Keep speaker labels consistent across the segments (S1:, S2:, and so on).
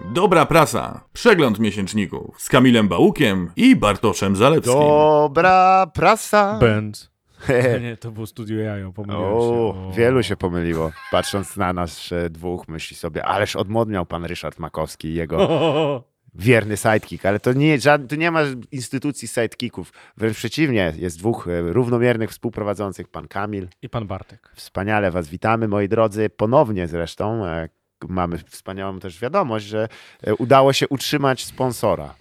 S1: Dobra prasa. Przegląd miesięczników z Kamilem Bałukiem i Bartoszem Zalewskim.
S2: Dobra prasa.
S3: Będz. Nie, to było studio jajo, pomyliłem
S2: O,
S3: się. O.
S2: wielu się pomyliło. Patrząc na nas e, dwóch, myśli sobie, ależ odmodniał pan Ryszard Makowski i jego
S3: O,
S2: wierny sidekick, ale to nie, żad, tu nie ma instytucji sidekicków. Wręcz przeciwnie, jest dwóch e, równomiernych współprowadzących, pan Kamil.
S3: I pan Bartek.
S2: Wspaniale was witamy, moi drodzy, ponownie zresztą. e, k- Mamy wspaniałą też wiadomość, że e, udało się utrzymać sponsora.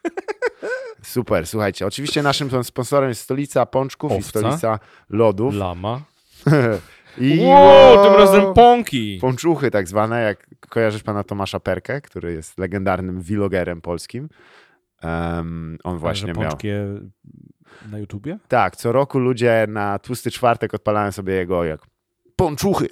S2: Super, słuchajcie. Oczywiście naszym tam sponsorem jest stolica pączków i
S3: Owca.
S2: stolica lodów.
S3: Lama.
S2: I
S3: Wow, tym razem pąki.
S2: Pączuchy tak zwane, jak kojarzysz pana Tomasza Perkę, który jest legendarnym vlogerem polskim. Em, on właśnie
S3: Że
S2: miał.
S3: pączkie na YouTubie?
S2: Tak, co roku ludzie na tłusty czwartek odpalają sobie jego jak pączuchy.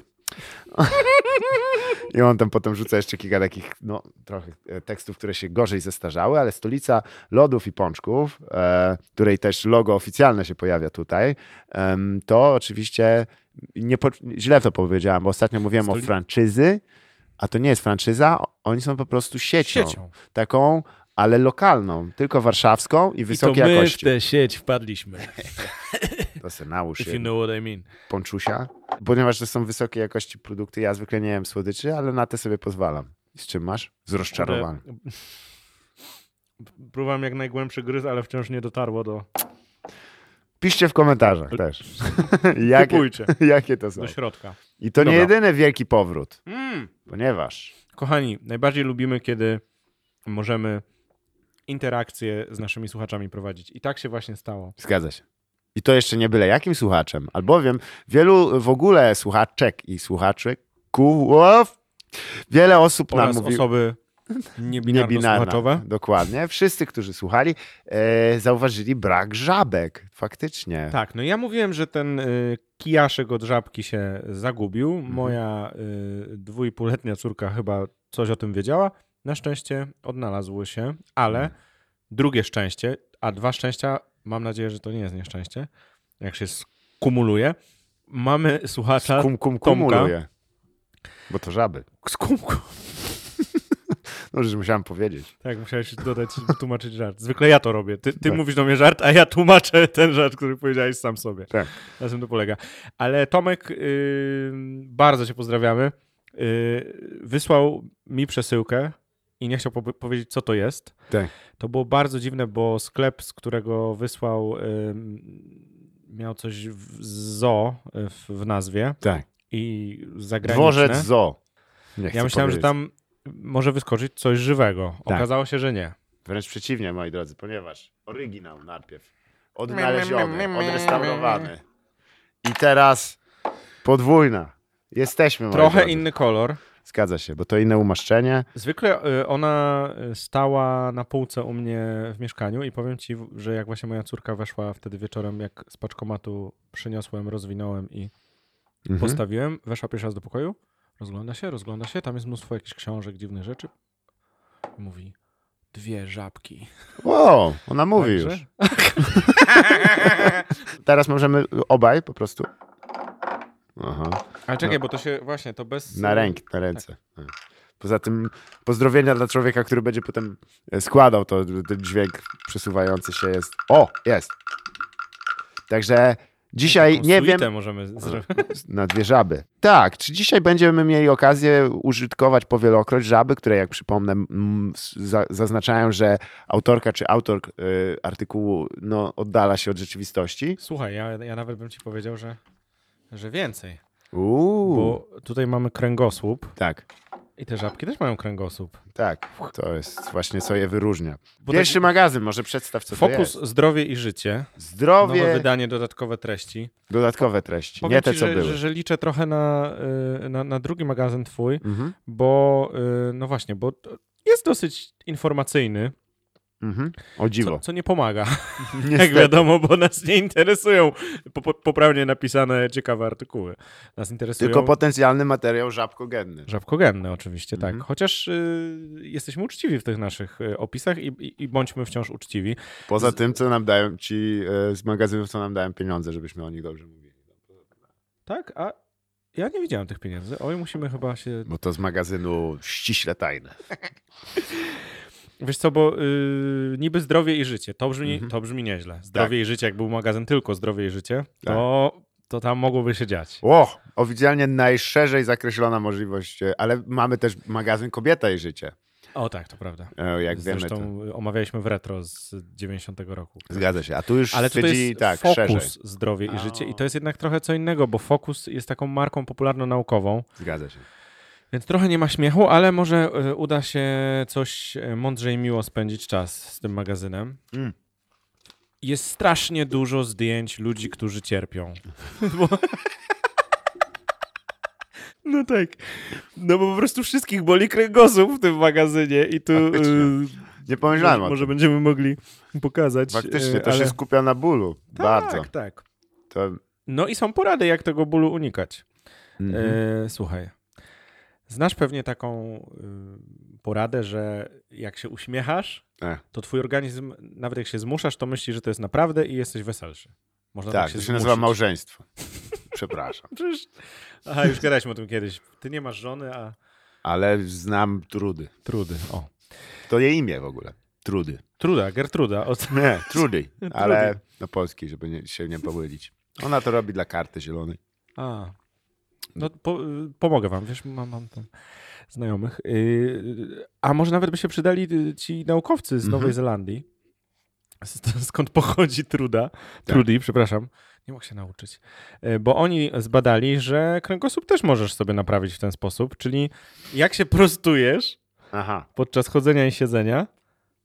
S2: I on tam potem rzuca jeszcze kilka takich, no trochę e, tekstów, które się gorzej zestarzały, ale stolica lodów i pączków, e, której też logo oficjalne się pojawia tutaj, em, to oczywiście nie po, źle to powiedziałem, bo ostatnio mówiłem o
S3: Stoli-
S2: franczyzy, a to nie jest franczyza, o- oni są po prostu siecią,
S3: Siecią.
S2: taką, ale lokalną, tylko warszawską i
S3: I to my
S2: wysokiej jakości.
S3: w tę sieć wpadliśmy.
S2: To se nałóż
S3: If
S2: jedno.
S3: you know what I mean.
S2: ponczusia, ponieważ to są wysokiej jakości produkty. Ja zwykle nie jem słodyczy, ale na te sobie pozwalam. I Z czym masz? Z rozczarowaniem.
S3: Próbowałem jak najgłębszy gryz, ale wciąż nie dotarło do...
S2: Piszcie w komentarzach też. jakie,
S3: Kupujcie.
S2: jakie to są?
S3: Do środka.
S2: I to nie
S3: Dobra.
S2: jedyny wielki powrót,
S3: Mm.
S2: ponieważ
S3: Kochani, najbardziej lubimy, kiedy możemy interakcje z naszymi słuchaczami prowadzić. I tak się właśnie stało.
S2: zgadza się. I to jeszcze nie byle jakim słuchaczem, albowiem wielu w ogóle słuchaczek i słuchaczy kułów, wiele osób nam
S3: Oraz
S2: mówi,
S3: osoby niebinarno-słuchaczowe.
S2: Dokładnie. Wszyscy, którzy słuchali, e, zauważyli brak żabek. Faktycznie.
S3: Tak, no ja mówiłem, że ten y, kijaszek od żabki się zagubił. Moja y, dwójpółletnia córka chyba coś o tym wiedziała. Na szczęście odnalazło się, ale drugie szczęście, a dwa szczęścia, mam nadzieję, że to nie jest nieszczęście, jak się skumuluje. Mamy słuchacza
S2: Kum, kum,
S3: Tomka.
S2: kumuluje. Tak? Bo to żaby.
S3: z kumku.
S2: No, że musiałem powiedzieć.
S3: Tak, musiałeś dodać, tłumaczyć żart. Zwykle ja to robię. Ty, ty mówisz do mnie żart, a ja tłumaczę ten żart, który powiedziałeś sam sobie.
S2: Tak.
S3: Na tym to polega. Ale Tomek, yy, bardzo cię pozdrawiamy. Yy, wysłał mi przesyłkę i nie chciał po- powiedzieć, co to jest.
S2: Tak.
S3: To było bardzo dziwne, bo sklep, z którego wysłał, yy, miał coś w zo w, w nazwie
S2: Tak.
S3: i zagraniczne.
S2: Dworzec Zo. Nie chcę
S3: Ja myślałem,
S2: powiedzieć.
S3: że tam może wyskoczyć coś żywego.
S2: Tak.
S3: Okazało się, że nie.
S2: Wręcz przeciwnie, moi drodzy, ponieważ oryginał najpierw odnaleziony, odrestaurowany. I teraz podwójna. Jesteśmy, moi
S3: Trochę
S2: drodzy.
S3: inny kolor.
S2: Zgadza się, bo to inne umaszczenie.
S3: Zwykle y, ona y, stała na półce u mnie w mieszkaniu i powiem ci, w- że jak właśnie moja córka weszła wtedy wieczorem, jak z paczkomatu przyniosłem, rozwinąłem i
S2: Mhm.
S3: postawiłem, weszła pierwszy raz do pokoju, rozgląda się, rozgląda się, tam jest mnóstwo jakichś książek, dziwnych rzeczy. Mówi, dwie żabki.
S2: Wow, ona mówi
S3: Także-
S2: już. Teraz możemy obaj po prostu. Aha.
S3: Ale czekaj, bo to się właśnie, to bez...
S2: No. Na rękę, na ręce. Poza tym pozdrowienia dla człowieka, który będzie potem e, składał to, ten dźwięk przesuwający się jest. O, jest. Także dzisiaj
S3: e, Taką
S2: nie
S3: suitę
S2: wiem
S3: możemy zrobić.
S2: na dwie żaby. Tak, czy dzisiaj będziemy mieli okazję użytkować powielokroć żaby, które jak przypomnę m, s- za, zaznaczają, że autorka czy autor e, artykułu no, oddala się od rzeczywistości.
S3: Słuchaj, ja, ja nawet bym ci powiedział, że, że więcej.
S2: Uuu,
S3: Bo tutaj mamy kręgosłup.
S2: tak,
S3: I te żabki też mają kręgosłup.
S2: tak. To jest właśnie co je wyróżnia.
S3: Bo
S2: Pierwszy
S3: tak-
S2: magazyn, może przedstaw co to
S3: Fokus
S2: jest.
S3: zdrowie i życie. Nowe
S2: Zdrowie,
S3: wydanie, dodatkowe treści.
S2: dodatkowe treści,
S3: Powiem
S2: nie te,
S3: ci,
S2: co
S3: że,
S2: były.
S3: Że, że liczę trochę na, y, na, na drugi magazyn twój,
S2: Mhm,
S3: bo y, no właśnie, bo to jest dosyć informacyjny,
S2: mhm. O
S3: co,
S2: dziwo.
S3: co nie pomaga, jak
S2: Niestety.
S3: wiadomo, bo nas nie interesują po- po- poprawnie napisane ciekawe artykuły. Nas interesują
S2: Tylko potencjalny materiał żabkogenny.
S3: żabkogenne oczywiście,
S2: Mhm.
S3: tak. Chociaż y, jesteśmy uczciwi w tych naszych y, opisach i, i, i bądźmy wciąż uczciwi.
S2: Poza tym, co nam dają ci e, z magazynów, co nam dają pieniądze, żebyśmy o nich dobrze mówili.
S3: Tak, a Ja nie widziałem tych pieniędzy. Oj, musimy chyba się...
S2: Bo to z magazynu ściśle tajne.
S3: Wiesz co, bo yy, niby zdrowie i życie. To brzmi,
S2: Mhm.
S3: to brzmi nieźle. Zdrowie
S2: Tak.
S3: i życie, jak był magazyn tylko zdrowie i życie, to, to tam mogłoby się dziać.
S2: O, oficjalnie najszerzej zakreślona możliwość, e, ale mamy też magazyn Kobieta i Życie.
S3: O tak, to prawda.
S2: E, Jak wiemy,
S3: Zresztą
S2: to...
S3: omawialiśmy w retro z 90 roku.
S2: Zgadza się. A tu już
S3: Ale to
S2: stwierdzili,
S3: jest
S2: tak,
S3: fokus
S2: szerzej.
S3: zdrowie i życie
S2: A.
S3: i to jest jednak trochę co innego, bo fokus jest taką marką popularno-naukową,
S2: Zgadza się.
S3: więc trochę nie ma śmiechu, ale może e, uda się coś e, mądrzej i miło spędzić czas z tym magazynem.
S2: Mm.
S3: Jest strasznie dużo zdjęć ludzi, którzy cierpią. No tak. No bo po prostu wszystkich boli kręgosłup w tym magazynie i tu e,
S2: Faktycznie. Nie pomyślałem o tym.
S3: będziemy mogli pokazać. e,
S2: Faktycznie, to się skupia na bólu. Bardzo.
S3: Tak, tak.
S2: To...
S3: No i są porady, jak tego bólu unikać.
S2: Mhm.
S3: E, słuchaj, znasz pewnie taką y, poradę, że jak się uśmiechasz,
S2: E.
S3: to twój organizm, nawet jak się zmuszasz, to myśli, że to jest naprawdę i jesteś weselszy. Można
S2: Tak, to się nazywa
S3: zmusić.
S2: małżeństwo. Przepraszam.
S3: Przecież... Aha, już gadaliśmy o tym kiedyś. Ty nie masz żony, a...
S2: Ale znam trudy.
S3: Trudy, o.
S2: To jej imię w ogóle. Trudy.
S3: Truda, Gertruda. O...
S2: Nie, trudy. Ale na polski, żeby nie, się nie pomylić. Ona to robi dla karty zielonej.
S3: A. No, po, y, pomogę wam, wiesz, mam, mam tam znajomych. Y, a może nawet by się przydali y, ci naukowcy z
S2: Mhm.
S3: Nowej Zelandii, z, skąd pochodzi truda,
S2: Tak.
S3: trudy, przepraszam. Nie mógł się nauczyć. Y, Bo oni zbadali, że kręgosłup też możesz sobie naprawić w ten sposób, czyli jak się prostujesz
S2: Aha.
S3: podczas chodzenia i siedzenia,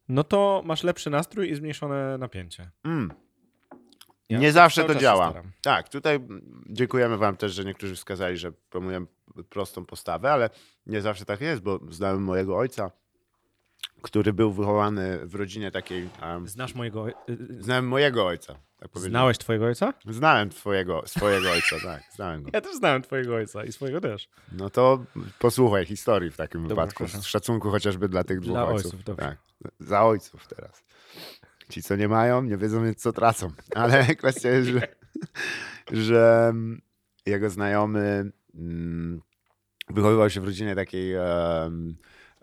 S3: no to masz lepszy nastrój i zmniejszone napięcie.
S2: Mm.
S3: Ja
S2: nie zawsze
S3: cały
S2: to
S3: czas się
S2: działa.
S3: staram.
S2: Tak, tutaj mm, dziękujemy Wam też, że niektórzy wskazali, że promuję prostą postawę, ale nie zawsze tak jest, bo znałem mojego ojca, który był wychowany w rodzinie takiej. Um,
S3: Znasz mojego... oj- y, y,
S2: znałem mojego ojca. Tak powiedziałem.
S3: Znałeś twojego ojca?
S2: Znałem twojego, swojego ojca, tak, znałem go.
S3: Ja też znałem twojego ojca i swojego też.
S2: No to posłuchaj historii w takim wypadku,
S3: przepraszam.
S2: z szacunku chociażby dla tych dwóch
S3: Dla
S2: ojców.
S3: ojców, dobrze.
S2: tak. Za ojców teraz. Ci, co nie mają, nie wiedzą, więc co tracą. Ale kwestia jest, że, że mm, jego znajomy mm, wychowywał się w rodzinie takiej em,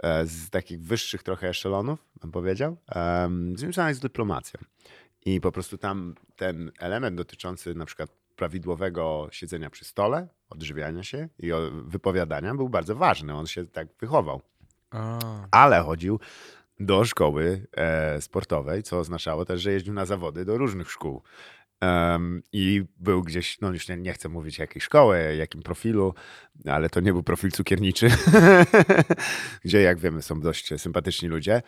S2: e, z takich wyższych trochę eszelonów, bym powiedział, em, związanych z dyplomacją. I po prostu tam ten element dotyczący na przykład prawidłowego siedzenia przy stole, odżywiania się i o- wypowiadania był bardzo ważny. On się tak wychował
S3: A,
S2: ale chodził do szkoły e, sportowej, co oznaczało też, że jeździł na zawody do różnych szkół. Em, I był gdzieś, no już nie, nie chcę mówić jakiej szkoły, jakim profilu, ale to nie był profil cukierniczy, gdzie jak wiemy są dość sympatyczni ludzie.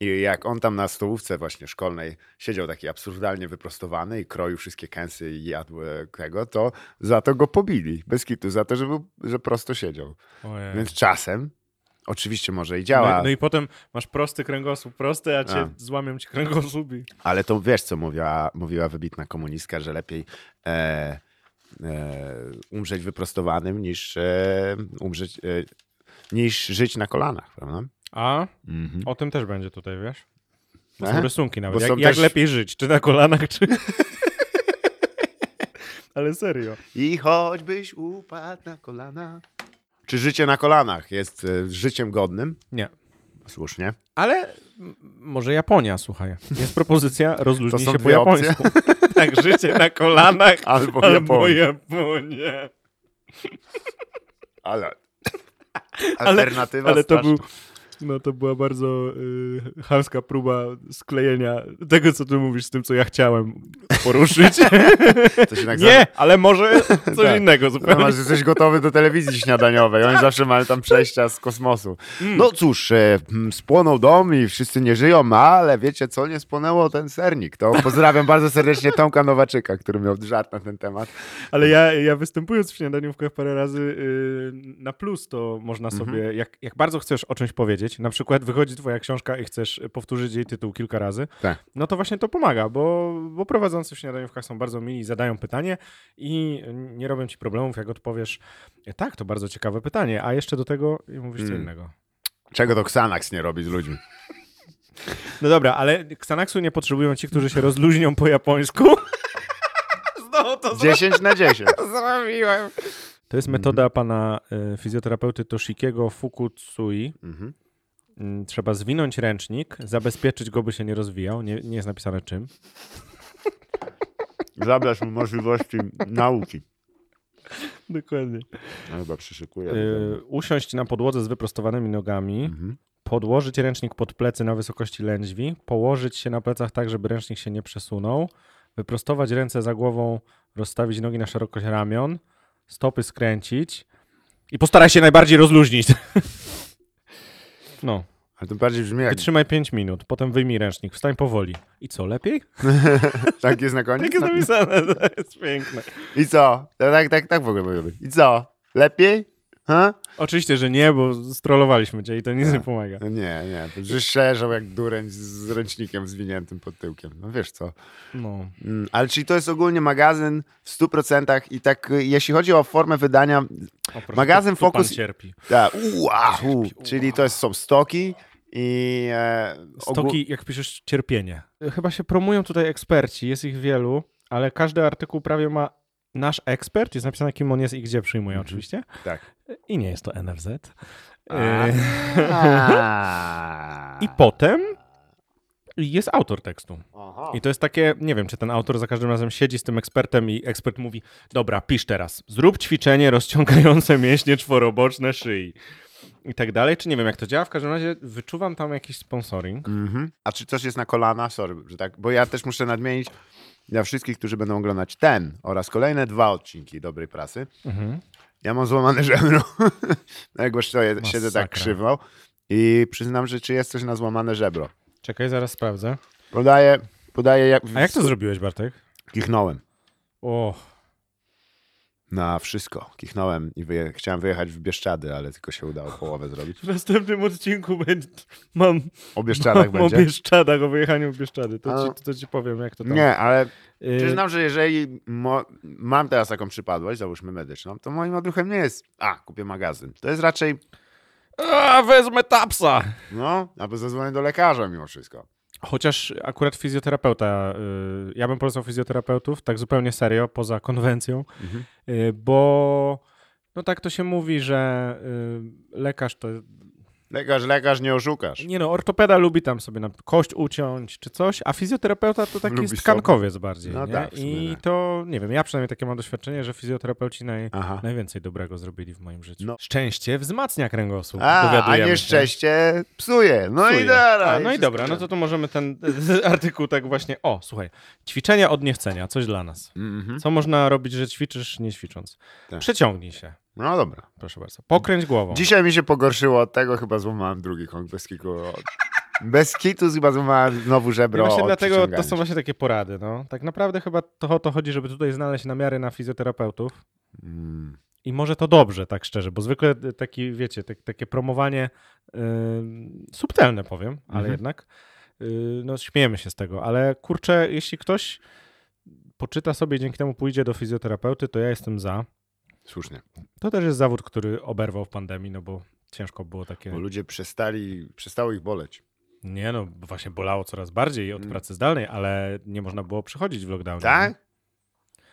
S2: I jak on tam na stołówce właśnie szkolnej siedział taki absurdalnie wyprostowany i kroił wszystkie kęsy i jadł e, tego, to za to go pobili, bez kitu, za to, że, był, że prosto siedział.
S3: ojej.
S2: Więc czasem, oczywiście może i działa,
S3: Tak. No, no i potem masz prosty kręgosłup, prosty, a cię
S2: A.
S3: złamią ci kręgosłup i...
S2: Ale to wiesz, co mówiła, mówiła wybitna komunistka, że lepiej e, e, umrzeć wyprostowanym niż e, umrzeć, e, niż żyć na kolanach, prawda?
S3: A o tym też będzie tutaj, wiesz? Bo są
S2: E?
S3: rysunki nawet.
S2: Mhm. Bo
S3: jak,
S2: są
S3: jak
S2: też-
S3: lepiej żyć, czy na kolanach, czy... Ale serio.
S2: I choćbyś upadł na kolana. Czy życie na kolanach jest e, życiem godnym?
S3: Nie.
S2: Słusznie.
S3: Ale m- może Japonia, słuchaj. Jest propozycja,
S2: To
S3: rozluźnij
S2: są
S3: się po
S2: dwie opcje.
S3: japońsku. tak, życie na kolanach
S2: Albo
S3: albo
S2: Japonia.
S3: Japonia.
S2: Ale.
S3: Ale-
S2: Alternatywa
S3: Ale to
S2: straszna.
S3: był, no to była bardzo y, chamska próba sklejenia tego, co ty mówisz z tym, co ja chciałem poruszyć.
S2: To się tak
S3: Nie, ale może coś
S2: Tak.
S3: innego
S2: No,
S3: zupełnie.
S2: masz, jesteś gotowy do telewizji śniadaniowej. Oni zawsze mają tam przejścia z kosmosu. No cóż, e, mm, spłonął dom i wszyscy nie żyją, ale wiecie co, nie spłonęło ten sernik. To pozdrawiam bardzo serdecznie Tomka Nowaczyka, który miał żart na ten temat.
S3: Tak. Ale ja, ja występując w śniadaniówkach parę razy y, na plus, to można
S2: Mhm.
S3: sobie, jak, jak bardzo chcesz o czymś powiedzieć, na przykład wychodzi twoja książka i chcesz powtórzyć jej tytuł kilka razy,
S2: Tak.
S3: no to właśnie to pomaga, bo, bo prowadzący w śniadaniówkach są bardzo mili, zadają pytanie i nie robią ci problemów, jak odpowiesz, tak, to bardzo ciekawe pytanie, a jeszcze do tego i mówisz co
S2: Mm.
S3: innego.
S2: Czego to Xanax nie robi z ludźmi?
S3: No dobra, ale Xanaxu nie potrzebują ci, którzy się rozluźnią po japońsku. Znowu to
S2: 10 na 10.
S3: zrobiłem. To
S2: Mhm.
S3: jest metoda pana y, fizjoterapeuty Toshikiego Fukutsui.
S2: Mhm.
S3: Mm, Trzeba zwinąć ręcznik, zabezpieczyć go, by się nie rozwijał. Nie, nie jest napisane czym.
S2: Zabrasz mu możliwości nauki.
S3: Dokładnie.
S2: No, chyba przyszykuję.
S3: Y, usiąść na podłodze z wyprostowanymi nogami,
S2: Mhm.
S3: podłożyć ręcznik pod plecy na wysokości lędźwi, położyć się na plecach tak, żeby ręcznik się nie przesunął, wyprostować ręce za głową, rozstawić nogi na szerokość ramion, stopy skręcić i postaraj się najbardziej rozluźnić. No,
S2: Ale to bardziej brzmi jak...
S3: wytrzymaj 5 minut, potem wyjmij ręcznik, wstań powoli. I co, lepiej?
S2: Tak jest na koniec?
S3: Tak jest
S2: No.
S3: napisane, to jest piękne.
S2: I co? No, tak, tak, tak w ogóle powinno być. I co? Lepiej? Ha?
S3: Oczywiście, że nie, bo strollowaliśmy cię i to nic nie pomaga.
S2: No nie, nie. To Że szerzą jak dureń z- z ręcznikiem zwiniętym pod tyłkiem. No wiesz co.
S3: No.
S2: Mm, Ale czyli to jest ogólnie magazyn w 100% i tak y, jeśli chodzi o formę wydania,
S3: O, proszę,
S2: Magazyn
S3: tu- tu pan
S2: Focus-
S3: cierpi.
S2: ta, ua, u, czyli to jest, są stoki i e, ogół-
S3: Stoki, jak piszesz, cierpienie. Chyba się promują tutaj eksperci, jest ich wielu, ale każdy artykuł prawie ma nasz ekspert, jest napisane kim on jest i gdzie przyjmuje oczywiście.
S2: Tak.
S3: I nie jest to NFZ.
S2: A.
S3: Y,
S2: A.
S3: I potem jest autor tekstu.
S2: Aha.
S3: I to jest takie, nie wiem, czy ten autor za każdym razem siedzi z tym ekspertem i ekspert mówi, dobra, pisz teraz, zrób ćwiczenie rozciągające mięśnie czworoboczne szyi. I tak dalej, czy nie wiem, jak to działa. W każdym razie wyczuwam tam jakiś sponsoring.
S2: Mhm. A czy coś jest na kolana? Sorry, że tak, bo ja też muszę nadmienić dla wszystkich, którzy będą oglądać ten oraz kolejne dwa odcinki Dobrej Prasy.
S3: Mhm.
S2: Ja mam złamane żebro. no jak właśnie stoję, siedzę tak
S3: Masakra.
S2: krzywo i przyznam, że czy jest coś na złamane żebro.
S3: Czekaj, zaraz sprawdzę.
S2: Podaję, podaję jak...
S3: A jak to zrobiłeś, Bartek?
S2: Kichnąłem.
S3: O,
S2: Na wszystko. Kichnąłem i wyje... chciałem wyjechać w Bieszczady, ale tylko się udało połowę zrobić.
S3: w następnym odcinku będzie, mam,
S2: O Bieszczadach
S3: mam o
S2: będzie?
S3: Bieszczadach, o wyjechaniu w
S2: A.
S3: Bieszczady. To ci, to ci powiem, jak to tam.
S2: Nie, ale
S3: Y,
S2: Przyznam, że jeżeli mo- mam teraz taką przypadłość, załóżmy medyczną, to moim odruchem nie jest, a kupię magazyn. To jest raczej,
S3: A, wezmę tapsa!
S2: no, albo zadzwonię do lekarza mimo wszystko.
S3: Chociaż akurat fizjoterapeuta, y, ja bym polecał fizjoterapeutów, tak zupełnie serio, poza konwencją,
S2: Mhm.
S3: y, bo no tak to się mówi, że y, lekarz to,
S2: Lekarz, lekarz, nie oszukasz.
S3: nie no, ortopeda lubi tam sobie na kość uciąć czy coś, a fizjoterapeuta to taki
S2: Lubi
S3: jest
S2: sobie.
S3: tkankowiec bardziej,
S2: No
S3: nie?
S2: tak, w sumie
S3: I
S2: tak.
S3: to, nie wiem, ja przynajmniej takie mam doświadczenie, że fizjoterapeuci naj,
S2: Aha.
S3: najwięcej dobrego zrobili w moim życiu.
S2: No.
S3: Szczęście wzmacnia kręgosłup,
S2: A, a
S3: dowiadujemy się.
S2: nieszczęście psuje. No
S3: Psuje.
S2: i dobra.
S3: A, no i
S2: wszystko
S3: dobra, no
S2: ten-
S3: to tu możemy ten artykuł tak właśnie. O, słuchaj. Ćwiczenia od niechcenia, coś dla nas.
S2: Mhm.
S3: Co można robić, że ćwiczysz nie ćwicząc?
S2: Tak.
S3: Przeciągnij się,
S2: No dobra.
S3: proszę bardzo. Pokręć głową.
S2: Dzisiaj mi się pogorszyło od tego, chyba złamałem drugi kąt bez kitu. Bez kitu chyba złamałem znowu
S3: I
S2: żebro
S3: właśnie
S2: od
S3: dlatego to
S2: przyciągania
S3: są
S2: się.
S3: właśnie takie porady. No. Tak naprawdę chyba to o to chodzi, żeby tutaj znaleźć namiary na fizjoterapeutów.
S2: Mm.
S3: I może to dobrze, tak szczerze, bo zwykle taki, wiecie, tak, takie promowanie yy, subtelne powiem, ale
S2: Mhm.
S3: jednak yy, no śmiejemy się z tego, ale kurczę, jeśli ktoś poczyta sobie i dzięki temu pójdzie do fizjoterapeuty, to ja jestem za.
S2: Słusznie.
S3: To też jest zawód, który oberwał w pandemii, no bo ciężko było takie.
S2: Bo ludzie przestali, przestało ich boleć.
S3: Nie no, właśnie bolało coraz bardziej od
S2: Mm.
S3: pracy zdalnej, ale nie można było przychodzić w lockdownie.
S2: Tak?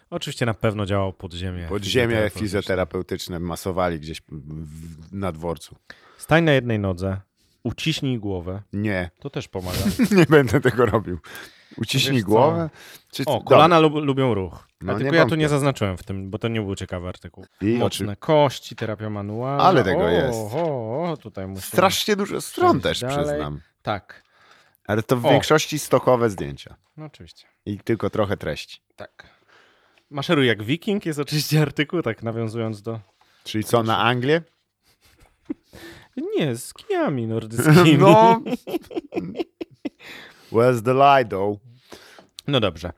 S3: Oczywiście na pewno działało podziemie.
S2: Podziemie
S3: fizjoterapeutyczne.
S2: fizjoterapeutyczne masowali gdzieś w- na dworcu.
S3: Stań na jednej nodze, uciśnij głowę.
S2: Nie,
S3: To też pomaga.
S2: nie będę tego robił. Uciśnij
S3: Wiesz co?
S2: głowę. Czy...
S3: O, kolana lub, lubią ruch.
S2: No,
S3: A
S2: nie
S3: tylko ja tu
S2: wątpię.
S3: nie zaznaczyłem w tym, bo to nie był ciekawy artykuł.
S2: Dobra. I
S3: Mocne
S2: oczy...
S3: kości, terapia manualna.
S2: Ale tego
S3: o,
S2: jest.
S3: O, o, tutaj musimy...
S2: Strasznie dużo stron
S3: Przejść
S2: też
S3: dalej.
S2: przyznam.
S3: Tak,
S2: Ale to w
S3: O.
S2: większości stokowe zdjęcia.
S3: no oczywiście.
S2: I tylko trochę treści.
S3: Tak. Maszeruj jak wiking jest oczywiście artykuł, tak nawiązując do...
S2: Czyli co, na Anglię?
S3: Nie, z kijami nordyckimi.
S2: No. Where's the lie, though?
S3: No dobrze.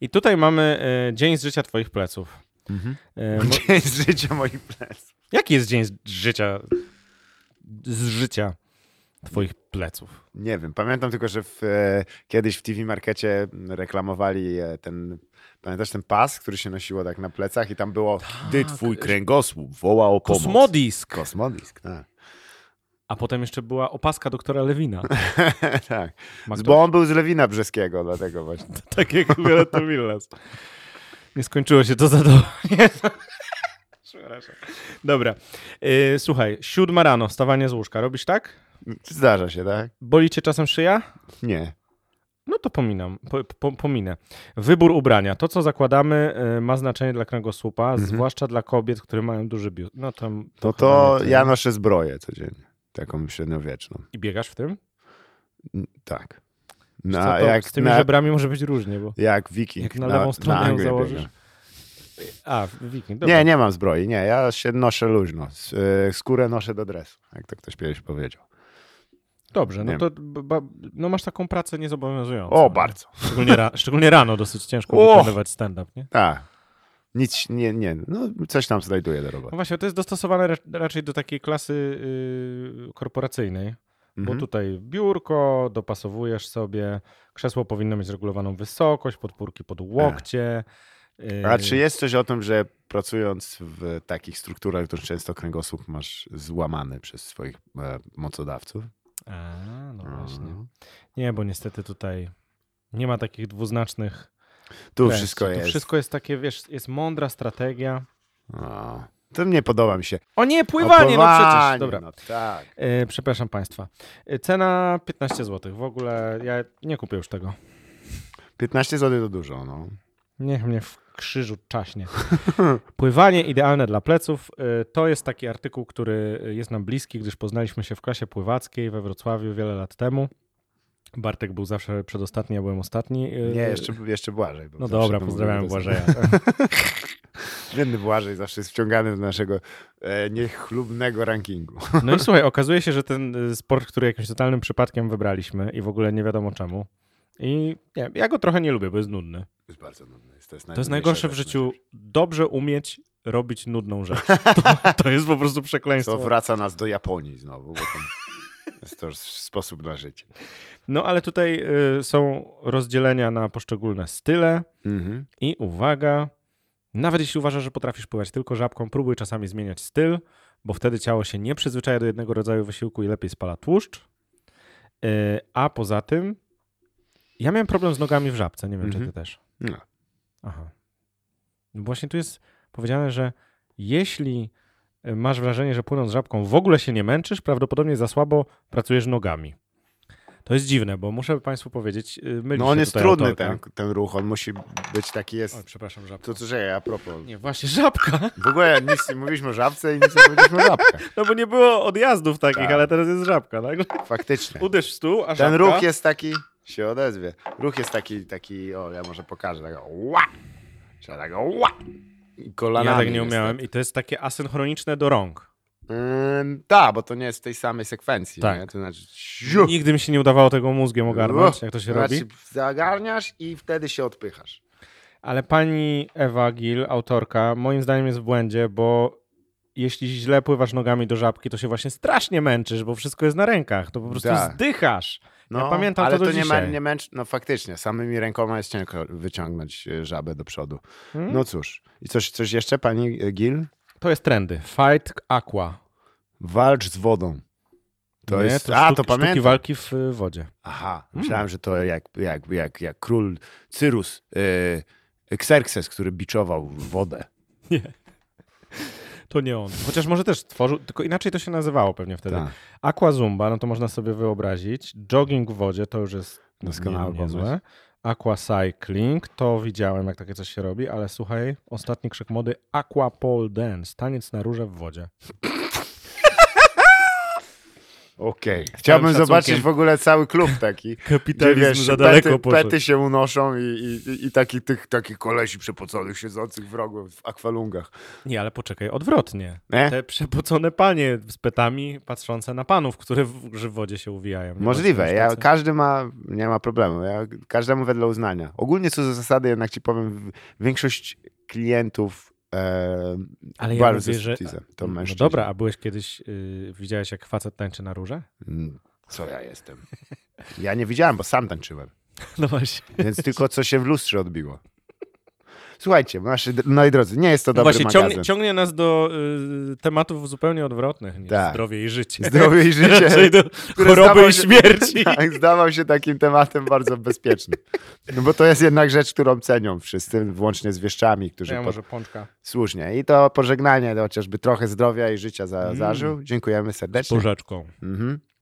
S3: I tutaj mamy e, dzień z życia twoich pleców.
S2: Mhm.
S3: E, mo-
S2: Dzień z życia moich pleców.
S3: jaki jest dzień z życia... z życia twoich pleców?
S2: Nie wiem, pamiętam tylko, że w, e, kiedyś w TV Markecie reklamowali e, ten, pamiętasz ten pas, który się nosiło tak na plecach i tam było, gdy twój kręgosłup woła o pomoc.
S3: Tak, e, Kosmodisk!
S2: Kosmodisk, tak.
S3: A potem jeszcze była opaska doktora Lewina.
S2: tak.
S3: Ma ktoś?
S2: Bo on był z Lewina Brzeskiego, dlatego właśnie.
S3: Tak jak Roberto Villas. Nie skończyło się to za to. Nie. Przepraszam. Dobra. Y, słuchaj, siódma rano, wstawanie z łóżka. Robisz tak?
S2: Zdarza się, tak?
S3: Boli cię czasem szyja?
S2: Nie.
S3: No to pominam, po, po, pominę. Wybór ubrania. To, co zakładamy, y, ma znaczenie dla kręgosłupa, zwłaszcza dla kobiet, które mają duży biust. No tam,
S2: To
S3: chyba
S2: to
S3: nie
S2: ja noszę zbroję codziennie. Taką średniowieczną.
S3: I biegasz w tym?
S2: N- Tak.
S3: No,
S2: Na,
S3: to
S2: jak,
S3: z tymi
S2: na,
S3: żebrami może być różnie, bo
S2: jak wiking.
S3: jak na lewą stronę ją
S2: Anglię
S3: założysz.
S2: biegam.
S3: A, wiking, dobra.
S2: Nie, nie mam zbroi, nie. Ja się noszę luźno. S- y, Skórę noszę do dresu, jak to ktoś kiedyś powiedział.
S3: Dobrze, no
S2: Nie.
S3: to b- ba, no masz taką pracę niezobowiązującą.
S2: O,
S3: nie?
S2: bardzo.
S3: Szczególnie, ra, szczególnie rano dosyć ciężko
S2: O!
S3: wykonywać stand-up, nie?
S2: Tak. Nic, nie, nie. No, coś tam znajduję do roboty.
S3: No właśnie, to jest dostosowane ra- raczej do takiej klasy yy, korporacyjnej,
S2: Mhm.
S3: bo tutaj biurko, dopasowujesz sobie, krzesło powinno mieć regulowaną wysokość, podpórki pod łokcie. Yy,
S2: A czy jest coś o tym, że pracując w takich strukturach, to często kręgosłup masz złamany przez swoich e, mocodawców? Mhm.
S3: A, no
S2: Mm.
S3: właśnie. Nie, bo niestety tutaj nie ma takich dwuznacznych
S2: Tu
S3: treści.
S2: wszystko
S3: Tu
S2: jest.
S3: wszystko jest takie, wiesz, jest mądra strategia.
S2: O, to nie podoba mi się.
S3: O nie, pływanie, no przecież.
S2: Pływanie,
S3: Dobra.
S2: No, tak.
S3: E, przepraszam Państwa. E, cena 15 zł. W ogóle ja nie kupię już tego.
S2: 15 zł to dużo, no.
S3: Niech mnie w krzyżu czaśnie. Pływanie idealne dla pleców. E, To jest taki artykuł, który jest nam bliski, gdyż poznaliśmy się w klasie pływackiej we Wrocławiu wiele lat temu. Bartek był zawsze przedostatni, ja byłem ostatni. E,
S2: Nie, jeszcze, jeszcze Błażej. bo
S3: No
S2: zawsze
S3: dobra,
S2: to
S3: pozdrawiam
S2: mówię, to jest-
S3: Błażeja.
S2: Biedny Błażej zawsze jest wciągany do naszego e, niechlubnego rankingu.
S3: No i słuchaj, okazuje się, że ten y, sport, który jakimś totalnym przypadkiem wybraliśmy i w ogóle nie wiadomo czemu. I nie, ja go trochę nie lubię, bo jest nudny.
S2: To jest bardzo nudne. jest- jest
S3: To jest
S2: najtrudniejsza
S3: najgorsze w
S2: rzecz na
S3: życiu.
S2: świecie.
S3: Dobrze umieć robić nudną rzecz. To, to jest po prostu
S2: To
S3: przekleństwo.
S2: wraca nas do Japonii znowu, bo tam jest to już sposób na życie.
S3: No ale tutaj y, są rozdzielenia na poszczególne style
S2: Mhm.
S3: i uwaga, nawet jeśli uważasz, że potrafisz pływać tylko żabką, próbuj czasami zmieniać styl, bo wtedy ciało się nie przyzwyczaja do jednego rodzaju wysiłku i lepiej spala tłuszcz. Y, a poza tym, ja miałem problem z nogami w żabce, nie wiem czy ty
S2: Mhm.
S3: też.
S2: No.
S3: Aha. No Właśnie tu jest powiedziane, że jeśli y, masz wrażenie, że płynąc żabką w ogóle się nie męczysz, prawdopodobnie za słabo pracujesz nogami. To jest dziwne, bo muszę Państwu powiedzieć, y, myli
S2: No on
S3: się
S2: jest
S3: tutaj
S2: trudny
S3: autorka.
S2: ten, ten ruch, on musi być taki
S3: Oj,
S2: jest.
S3: przepraszam, żabka.
S2: To co że a propos.
S3: Nie, właśnie żabka,
S2: W ogóle nic nie mówiliśmy o żabce i nic nie powiedzieliśmy o żabkach.
S3: no bo nie było odjazdów takich,
S2: Tak.
S3: ale teraz jest żabka. Tak?
S2: Faktycznie.
S3: Uderz w stół, a
S2: Ten
S3: żabka...
S2: ruch jest taki, się odezwie. Ruch jest taki, taki, o ja może pokażę, takiego ła. Trzeba tego ła. I kolanami.
S3: Ja tak nie
S2: niestety.
S3: umiałem i to jest takie asynchroniczne do rąk.
S2: Ym, tak, bo to nie jest w tej samej sekwencji.
S3: Tak.
S2: Nie? To znaczy, ziu,
S3: Nigdy mi się nie udawało tego mózgiem ogarnąć, jak to się robi.
S2: znaczy, Zagarniasz i wtedy się odpychasz.
S3: Ale pani Ewa Gil, autorka, moim zdaniem jest w błędzie, bo jeśli źle pływasz nogami do żabki, to się właśnie strasznie męczysz, bo wszystko jest na rękach. To po prostu
S2: Tak.
S3: zdychasz.
S2: No,
S3: Ja pamiętam
S2: ale
S3: to do
S2: nie,
S3: dzisiaj.
S2: nie męcz, no faktycznie, samymi rękoma jest ciężko wyciągnąć e, żabę do przodu.
S3: Hmm?
S2: No cóż, i coś, coś jeszcze, pani e, Gil?
S3: To jest trendy. Fight Aqua.
S2: Walcz z wodą. To
S3: Nie?
S2: jest. a,
S3: sztuki-
S2: to
S3: Sztuki Hmm.
S2: pamiętam.
S3: walki w y, wodzie.
S2: Aha, myślałem, że to jak, jak, jak, jak król Cyrus, yy, Xerxes, który biczował wodę.
S3: To nie on. Chociaż może też tworzył, tylko inaczej to się nazywało pewnie wtedy.
S2: Tak.
S3: Aqua Zumba, no to można sobie wyobrazić. Jogging w wodzie to już jest
S2: Doskonały
S3: nie-
S2: pomysł.
S3: niezłe. Aqua Cycling, to widziałem, jak takie coś się robi, ale słuchaj, ostatni krzyk mody Aqua Pole Dance, taniec na rurze w wodzie.
S2: Okej. Chciałbym
S3: szacunkiem.
S2: zobaczyć w ogóle cały klub taki. Gdzie,
S3: Kapitalizm
S2: wiesz, pety, pety się unoszą i, i, i- i taki, tych, takich kolesi przepoconych, siedzących wrogów w akwalungach.
S3: Nie, ale poczekaj, odwrotnie.
S2: Nie?
S3: Te przepocone panie z petami patrzące na panów, które w, że w wodzie się uwijają. Nie
S2: Możliwe.
S3: patrzą
S2: Ja,
S3: na tacy.
S2: każdy ma, nie ma problemu. Ja, każdemu wedle uznania. Ogólnie co do zasady, jednak ci powiem, w- większość klientów e,
S3: Ale ja
S2: bardzo
S3: mówię, że...
S2: stripteasem to
S3: no
S2: mężczyźni.
S3: dobra, a byłeś kiedyś, y, widziałeś jak facet tańczy na rurze?
S2: Mm, Co ja jestem? Ja nie widziałem, bo sam tańczyłem.
S3: No właśnie.
S2: Więc tylko co się w lustrze odbiło. Słuchajcie, nasi, moi drodzy, nie jest to dobry
S3: No Właśnie
S2: magazyn.
S3: ciągnie, ciągnie nas do y, tematów zupełnie odwrotnych niż
S2: Tak.
S3: zdrowie i życie.
S2: Zdrowie i życie.
S3: Raczej do
S2: które
S3: choroby
S2: zdawał
S3: i
S2: się-
S3: śmierci.
S2: Tak, zdawał się takim tematem bardzo bezpiecznym. No bo to jest jednak rzecz, którą cenią wszyscy, włącznie z wieszczami, którzy
S3: Ja
S2: pod-
S3: może pączka.
S2: słusznie. I to
S3: Mm.
S2: pożegnanie, to chociażby trochę zdrowia i życia za, zażył. Dziękujemy serdecznie.
S3: Porzeczką.
S2: Mhm.